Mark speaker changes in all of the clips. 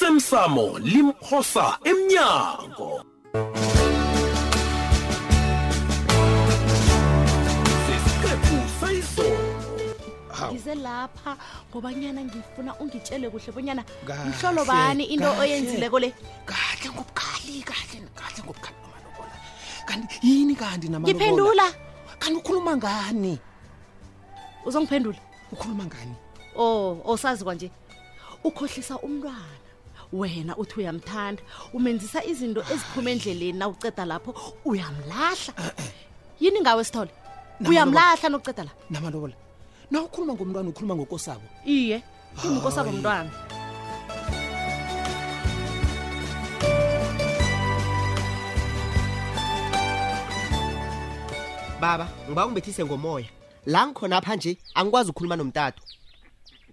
Speaker 1: osemsamo limphosa emnyango sesiqephu sayizolo
Speaker 2: Hawu.
Speaker 3: ngize lapha ngobanyana ngifuna ungitshele kuhle bonyana
Speaker 2: Kahle,
Speaker 3: mhlolo bani into
Speaker 2: kahle.
Speaker 3: oyenzileko le
Speaker 2: kahle ngobukhali kahle kahle ngobukhali namalobola kanti yini kanti namalobola
Speaker 3: ngiphendula
Speaker 2: kanti ukhuluma ngani
Speaker 3: uzongiphendula
Speaker 2: ukhuluma ngani
Speaker 3: o osazi kwanje ukhohlisa umntwana wena uthi uyamthanda umenzisa izinto eziphuma endleleni na uceda lapho uyamlahla
Speaker 2: Eh,
Speaker 3: yini ngawe sithole
Speaker 2: Nama
Speaker 3: uyamlahla nokuceda la
Speaker 2: namalobola na ukhuluma ngomntwana ukhuluma ngokosabo
Speaker 3: iye umkosabo mntwana
Speaker 4: baba ngiba ungibethise ngomoya la ngikhonapha nje angikwazi ukukhuluma nomtato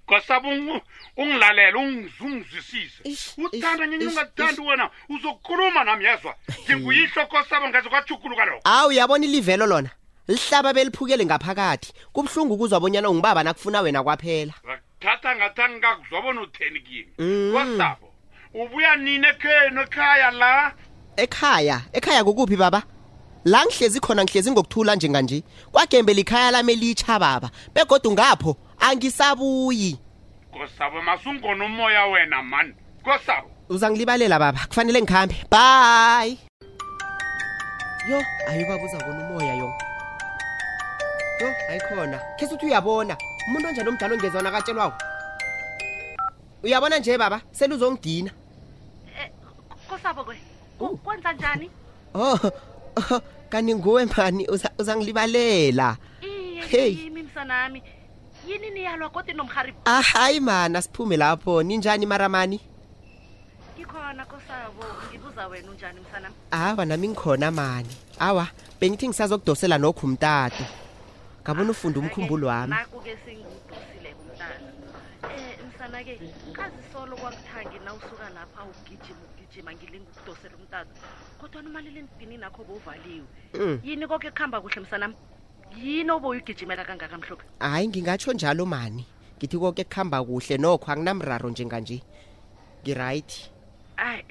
Speaker 5: kwasabe ungilalela ungizungizwisise
Speaker 4: Ish,
Speaker 5: uthanda
Speaker 4: ish,
Speaker 5: nyenye
Speaker 4: ish,
Speaker 5: ungathandi wena uzokhuluma nami yezwa nginguyihlo kosabo ngaze kwathuguluka lokho
Speaker 4: awu uyabona ilivelo lona lihlaba beliphukele ngaphakathi kubuhlungu ukuzwa bonyana ungibaba nakufuna wena kwaphela
Speaker 5: ngakuthatha ngathi angingakuzwa bona utheni kimi
Speaker 4: Mm.
Speaker 5: kosabo ubuya nini ekhenu ekhaya la
Speaker 4: ekhaya ekhaya kukuphi baba la ngihlezi khona ngihlezi ngokuthula njenganje kwagembela ikhaya lami elitsha baba begodwa ngapho angisabuyi
Speaker 5: kosabo masungona umoya wena mani kosabo
Speaker 4: uzangilibalela baba kufanele ngikhambe bye yo ayi baba uzabona umoya yo yo ayikhona khesuthi uyabona umuntu onjani omdala ongezwana akatshelwako uyabona nje baba seluzongidina
Speaker 3: kosabo kwe
Speaker 4: Ku-
Speaker 3: kwenza njani
Speaker 4: oh, oh kanti nguwe mani uza- uzangilibalela Hey.
Speaker 3: iye msanami yini niyalwa kodwa nomharibo
Speaker 4: ah hayi mana siphume lapho ninjani maramani
Speaker 3: ngikhona kosabo ngibuza wena unjani msanami
Speaker 4: awa nami ngikhona mani awa bengithi ngisazokudosela nokho umtato ngabona ufunda umkhumbulo wami
Speaker 3: naku-ke singidosile kumntana um msana-ke kazisolo kwakuthangi na usuka lapha ugijima ugijima ngilinga ukudosela umntana kodwana umalilendinini akho bowuvaliwe
Speaker 4: Mm.
Speaker 3: yini koke kuhamba kuhle msanami yini obowuyigijimela kangaka mhlophe
Speaker 4: hayi ngingatsho njalo mani ngithi konke kuhamba kuhle nokho anginamraro njenganje ngirayithi
Speaker 3: ayi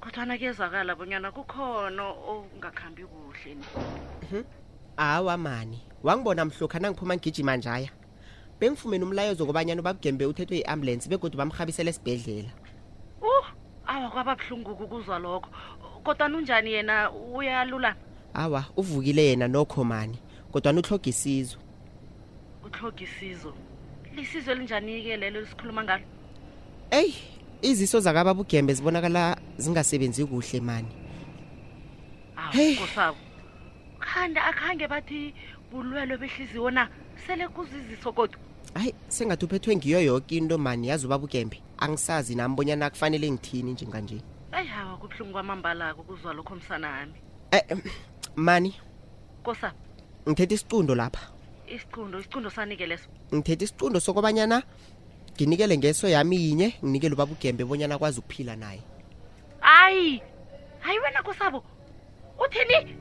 Speaker 3: kodwana kuyezwakala bonyana kukhona okungakhambi kuhle ni
Speaker 4: awa mani wangibona mhlokha nangiphuma ngigijima njaya bengifumene umlayezo kobanyana babugembe uthethwe yi-ambulensi begodwa bamrhabisele esibhedlela
Speaker 3: uh awa kwaba buhlunguku kuzwa lokho kodwana unjani yena uyalulama
Speaker 4: awa uvukile yena nokho mani kodwa nuhloga isizo
Speaker 3: utlhoga isizo lisizo elinjani-ke lelo lisikhuluma ngalo
Speaker 4: eyi iziso zakababugembe zibonakala zingasebenzi kuhle mani Hey.
Speaker 3: hawu kosabo kanti akhange bathi bulwelwe behliziyo na sele kuziziso kodwa
Speaker 4: hayi sengathi uphethwe ngiyo yoke into mani yazi ubabugembe angisazi nami bonyana kufanele ngithini njenganje
Speaker 3: eyi hawa kubuhlungu kwamambalako kuzwa lokho msanami
Speaker 4: Eh, mani
Speaker 3: kosabo
Speaker 4: ngithethe isicundo lapha
Speaker 3: isicundo isicundo sanike leso
Speaker 4: ngithethe isicundo sokobanyana nginikele ngeso yami yinye nginikele ubaba ugembe bonyana akwazi ukuphila naye
Speaker 3: hayi hayi wena kosabo uthini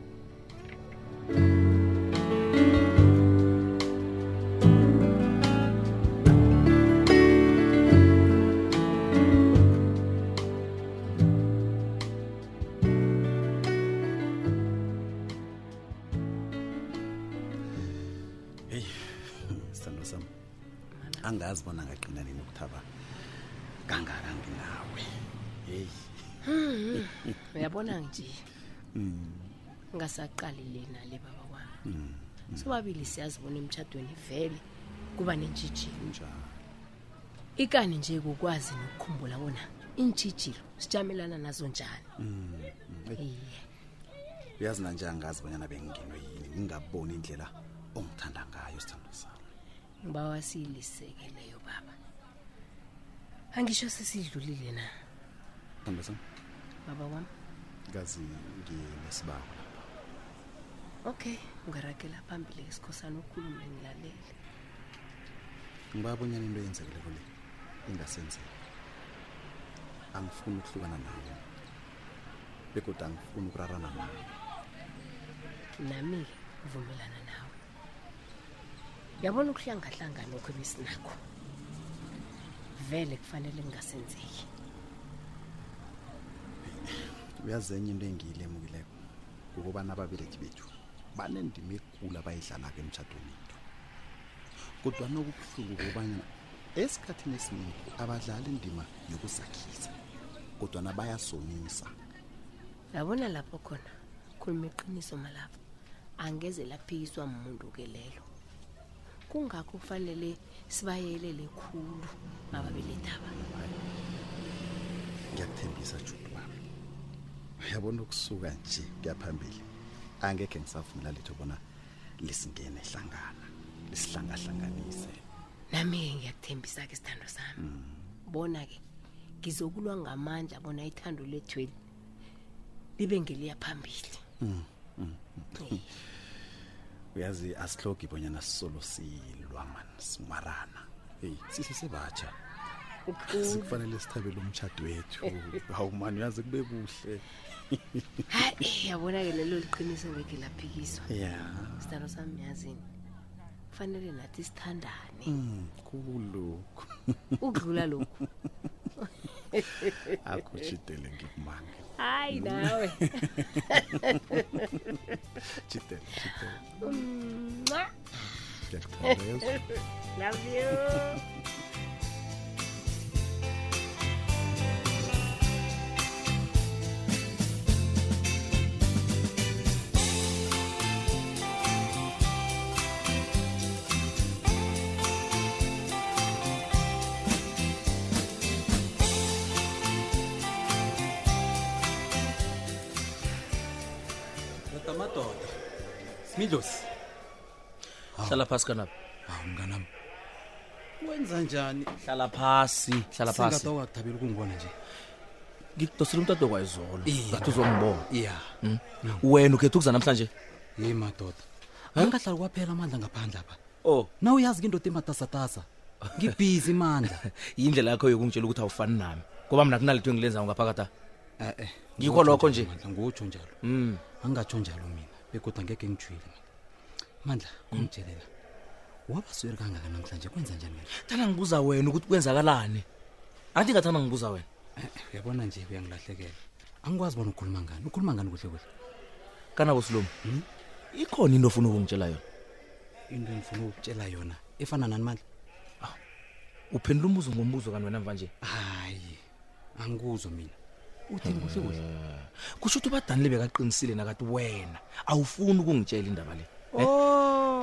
Speaker 6: sithando sami angazi bona ngaqina nini ukuthaba kangaka nginawe heyi
Speaker 7: uyabona nje ngasaqali le nale baba wami sobabili siyazibona emtshadweni vele kuba nentshijilo
Speaker 6: njani
Speaker 7: ikani nje kukwazi nokukhumbula bona iintshijilo sijamelana nazo njani iye
Speaker 6: uyazi nanje angazi bonyana bengingenwe yini ngingaboni indlela ongithanda ngayo sithando sami
Speaker 7: ngiba wasiyilisekeleyo baba angisho sesidlulile na
Speaker 6: sithando sami
Speaker 7: baba wami
Speaker 6: kazi nginesibako lapha
Speaker 7: okay ungaragela phambili ke sikhosana ukhulume ngilalele
Speaker 6: ngibabonyana into eyenzekeleko le ingasenzeki angifuni ukuhlukana nawe begoda angifuni ukurarana nawe
Speaker 7: nami-ke uvumelana nawe yabona ukuhlangahlanga lokho ebesinakho vele kufanele kungasenzeki
Speaker 8: uyazi enye into engiyilemukileko ngokobana ababelethi bethu banendima ekulu abayidlalako emtshadweni ethu kodwana okubuhlungu kobanyana esikhathini esiningi abadlali indima yokusakhisa kodwana bayasomisa
Speaker 7: yabona lapho khona khuluma iqiniso malapho angeze laphikiswa muntu ke lelo kungakho kufanele sibayelele khulu ababelethaba
Speaker 8: ngiyakuthembisa judu wami uyabona ukusuka nje kuyaphambili angekhe ngisavumela letho bona lisingene hlangana lisihlangahlanganise
Speaker 7: nami-ke ngiyakuthembisa-ke isithando sami bona-ke ngizokulwa ngamandla bona ithando lethweli libe ngeliya phambili
Speaker 8: uyazi asihlogi bonyana sisolo silwa mani simarana eyi sisesebatsha sikufanele sithabele umtshado wethu hawu mani uyazi kube kuhle
Speaker 7: hayi yabona-ke eh, lelo liqiniso ngekhe laphikiswa
Speaker 8: ya
Speaker 7: isithando sami yazini kufanele nathi sithandane
Speaker 8: Mm, kulokhu
Speaker 7: ukudlula lokhu
Speaker 8: akujidele ngikumange Mm.
Speaker 7: hayi nawe
Speaker 8: jidele jidele
Speaker 7: Mwah.
Speaker 8: ngiyakuthandeza
Speaker 7: love you
Speaker 9: ndoda madoda smidlosi hlala phasi kanabo
Speaker 8: hawu mnganami wenza njani
Speaker 9: hlala phasi hlala phasi
Speaker 8: singakawakuthabeli ukungibona nje
Speaker 9: ngikudosela umtado kwayizolo
Speaker 8: Iye.
Speaker 9: ngathi uzongibona
Speaker 8: ya
Speaker 9: wena ukhetha ukuza namhlanje
Speaker 8: ye madoda angahlali kwaphela amandla ngaphandle apha
Speaker 9: o
Speaker 8: na uyazi ke indoda ematasatasa ngibhizi mandla
Speaker 9: yindlela yakho yokungitshela ukuthi awufani nami ngoba mna kunalitho engilenzayo ngaphakatha
Speaker 8: Eh, eh,
Speaker 9: Ngikho lokho nje.
Speaker 8: Mandla, ngutsho njalo
Speaker 9: mm.
Speaker 8: angatsho njalo mina begoda ngeke ngijwile mandla ngimtshelela wabasweri kangaka namhlanje kwenza njani wena
Speaker 9: thanda ngibuza wena ukuthi kwenzakalani anti ngathanda ngibuza wena
Speaker 8: Eh, eh, uyabona nje uyangilahlekela angikwazi bona ukhuluma ngani ukhuluma ngani kuhle kuhle
Speaker 9: kanabo silomo ikhona into ofuna ukungitshela yona
Speaker 8: into engifuna ukutshela yona efana nani mandla
Speaker 9: uphendula umbuzo ngombuzo kani wena mva nje
Speaker 8: hayi angikuzo mina uthini kuhle kuhle
Speaker 9: kusho ukuthi ubadanile bekaqinisile nakathi wena awufuni ukungitshela indaba le
Speaker 8: o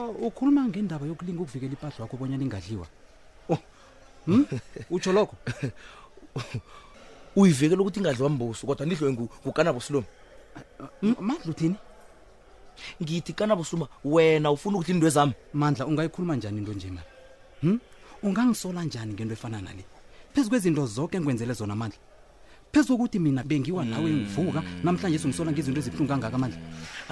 Speaker 8: Oh, ukhuluma ngendaba yokulinga ukuvikela impahla wakho obonyana ingadliwa
Speaker 9: Oh.
Speaker 8: Hmm? utsho lokho
Speaker 9: uyivikela ukuthi ingadliwa mbuso kodwa nidliwe ngu- ngukanabo silomo
Speaker 8: Hmm? mandla uthini
Speaker 9: ngithi kanabo siloma wena ufuna ukuthi indwe zami
Speaker 8: mandla ungayikhuluma njani into nje mani hm ungangisola njani ngento efana nale phezu kwezinto zonke engikwenzele zona mandla phezu kokuthi mina bengiwa nawe ngivuka namhlanje singisola ngezinto ezibuhlungu kangaka mandla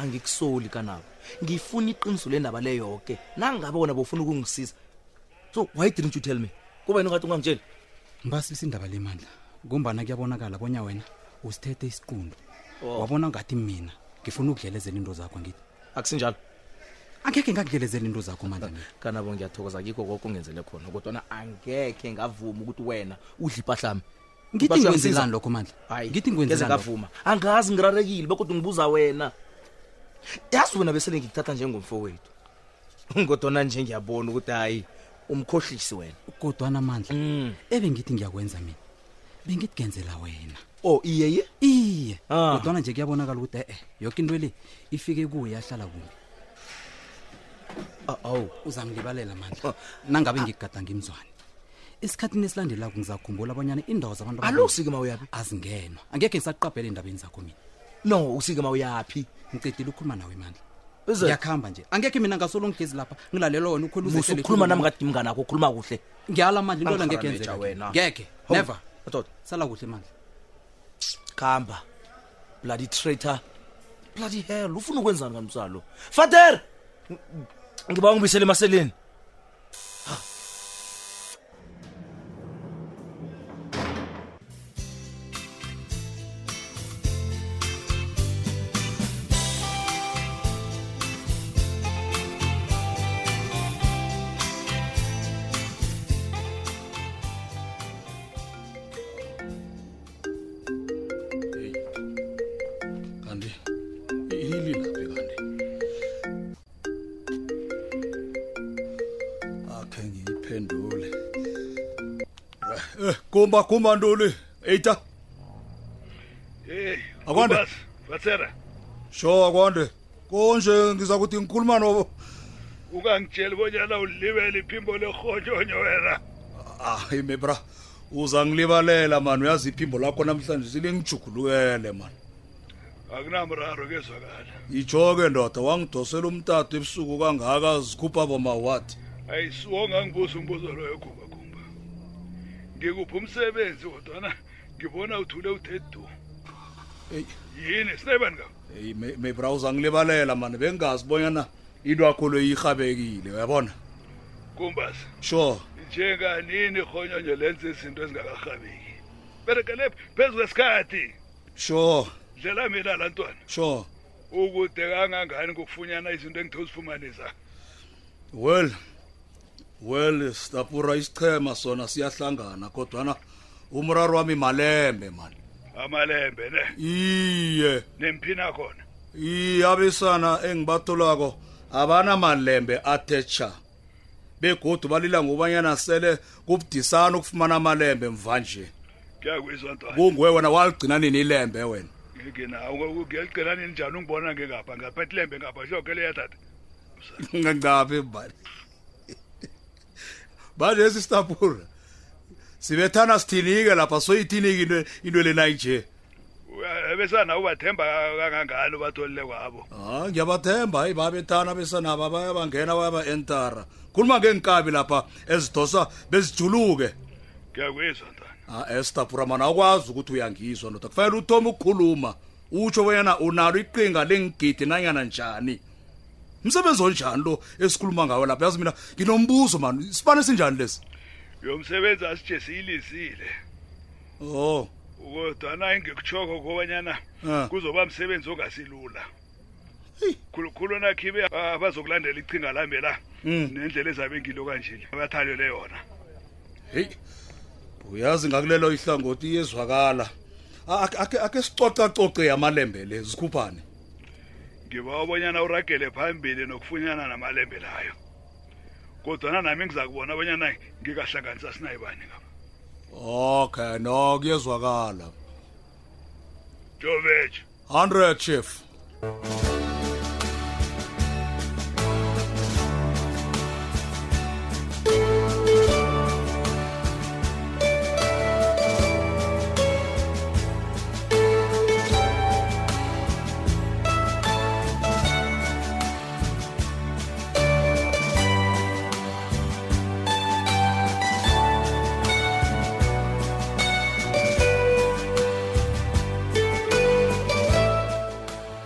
Speaker 9: angikusoli kanabo ngifuna iqiniso lendaba leyoke nangabe wona bofuna ukungisiza so why didn't you tell me kuba yini ungathi ungangitsheli
Speaker 8: mbasisa indaba le mandla kumbana kuyabonakala bonya wena usithethe isiqundo wabona ngathi mina ngifuna ukudlelezela into zakho ngithi
Speaker 9: akusinjalo
Speaker 8: angekhe ngakudlelezela into zakho mandla mina
Speaker 9: kanabo ngiyathokoza kikho konke ungenzele khona kodwana angekhe ngavuma ukuthi wena udla ipahlami
Speaker 8: ngithi ngikwenzelani lokho mandla ngithi ngikwenzelani lokho?
Speaker 9: ngavuma angazi ngirarekile bekodwa ngibuza wena yazi wena besele ngikuthatha njengomfo wethu kodwana nje ngiyabona ukuthi hayi umkhohlisi wena
Speaker 8: kodwana mandla
Speaker 9: Mm.
Speaker 8: ebe ngithi ngiyakwenza mina bengithi kenzela wena
Speaker 9: o iyeye
Speaker 8: Oh, iye
Speaker 9: Ah.
Speaker 8: kodwana nje kuyabonakala ukuthi e-e yoke into le ifike kuwe yahlala kumbi
Speaker 9: Ah, awu
Speaker 8: uzangilibalela mandla nangabe ngikugadanga imzwane esikhathini esilandelako ngizakhumbula abanyana iindawo zabantu
Speaker 9: alo usike ma uyaphi
Speaker 8: azingenwa angekhe ngisaqabhela endabeni zakho mina
Speaker 9: no usike ma uyaphi
Speaker 8: ngicedile ukukhuluma nawe mandla
Speaker 9: Uze-
Speaker 8: ngiyakuhamba nje angekhe mina ngasolo ngihlezi lapha ngilalela wena ukhwela
Speaker 9: musa ukhuluma nami kade mnganakho ukhuluma kuhle
Speaker 8: ngiyala mandla into le ngekhe
Speaker 9: Angikharambeja
Speaker 8: yenzeka
Speaker 9: wena.
Speaker 8: kimi. ngekhe
Speaker 9: Ho.
Speaker 8: never
Speaker 9: madoda
Speaker 8: sala kuhle mandla
Speaker 9: kamba bloody traitor bloody hell ufuna ukwenzani kanti msalo fatera ngiba ungibuyisele emaseleni Eh, gumba gumba ntuli eita
Speaker 5: Eh,
Speaker 9: Akwande.
Speaker 5: Kubas, Vatsera,
Speaker 9: sho akwande konje ngiza kuthi ngikhuluma nobo
Speaker 5: ungangitsheli bonyana ulibele iphimbo lerhotyonyo wena.
Speaker 9: hayi me bra uza ngilibalela mani uyazi iphimbo lakho namhlanje silingijugulukele mani
Speaker 5: Akunamraro kezwakala.
Speaker 9: itsho ke ndoda wangidosela umtato ebusuku kangaka zikhupha bomawadi
Speaker 5: Ayisuwo ngangibuza umbuzo loyo Gumba Gumba. Ngikupha umsebenzi kodwana ngibona uthule uthe du.
Speaker 9: Eyi.
Speaker 5: Yini sinebani ka?
Speaker 9: eyi me- me bra uza ngilibalela mani bengazi bonyana into yakho lo yirhabekile uyabona
Speaker 5: Gumbas,
Speaker 9: sure
Speaker 5: njenganini irhonyonyo lenze izinto ezingakarhabeki. Berekele phezu kwesikhathi.
Speaker 9: sure
Speaker 5: Dlela mina lantwana.
Speaker 9: sure
Speaker 5: Ukude kangangani ngokufunyana izinto engithe uzifumanisa.
Speaker 9: well well stapura isichema sona siyahlangana kodwana umraro wami malembe mani
Speaker 5: Amalembe ne.
Speaker 9: iye
Speaker 5: Nemphina khona.
Speaker 9: iyabesana engibatholako abanamalembe atecha begodu balila ngobanyana sele kubudisana ukufumana amalembe mvanje
Speaker 5: Kuyakwizwa ntwana.
Speaker 9: kunguwe wena waligcina nini ilembe wena
Speaker 5: Nginawo ngiyaligcina nini njani ungibona ngengapha ngaphethe lembe ngapha shoke leya tata.
Speaker 9: ngangaphi mbani manje sistapura sibethana sithini-ke lapha soyithini-ke into- into lena nje
Speaker 5: Eh, Besana ubathemba kangangani ubatholile kwabo.
Speaker 9: ha Ah, ngiyabathemba hayi babethana besanaba bayabangena bayaba-entara khuluma ngenkabi lapha ezidosa bezijuluke
Speaker 5: Kuyakwizwa ntwana.
Speaker 9: Ah, Esther Puramana akwazi ukuthi uyangizwa ndoda. Kufanele uthome ukukhuluma. Utsho wena unalo iqinga lengigidi nanyana njani. Umsebenzi onjani lo esikhuluma ngawo lapha? Yazi mina nginombuzo man. Isibane sinjani lesi?
Speaker 5: Yomsebenzi asije siyilisile.
Speaker 9: Oh,
Speaker 5: Kodwa naye ngikuchoko kobanyana
Speaker 9: Ah.
Speaker 5: kuzoba umsebenzi ongasilula. Khulukhulu nakhibe abazokulandela ichinga lambe la. Nendlela ezabe ngilo kanjini. Abathalele yona.
Speaker 9: hey. Uyazi ngakulelo ihlangothi iyezwakala. Ah, Ake ake- ake sicoca coce yamalembe le zikhuphane.
Speaker 5: ngiba obonyana uragele phambili nokufunyana namalembe layo kodwana nami ngiza kubona obonyana ngikahlanganisa sinayibani ngapha
Speaker 9: Okay, no kuyezwakala.
Speaker 5: jovejo
Speaker 9: 100 chief.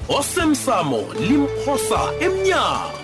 Speaker 1: osemsamo limphosa emnyango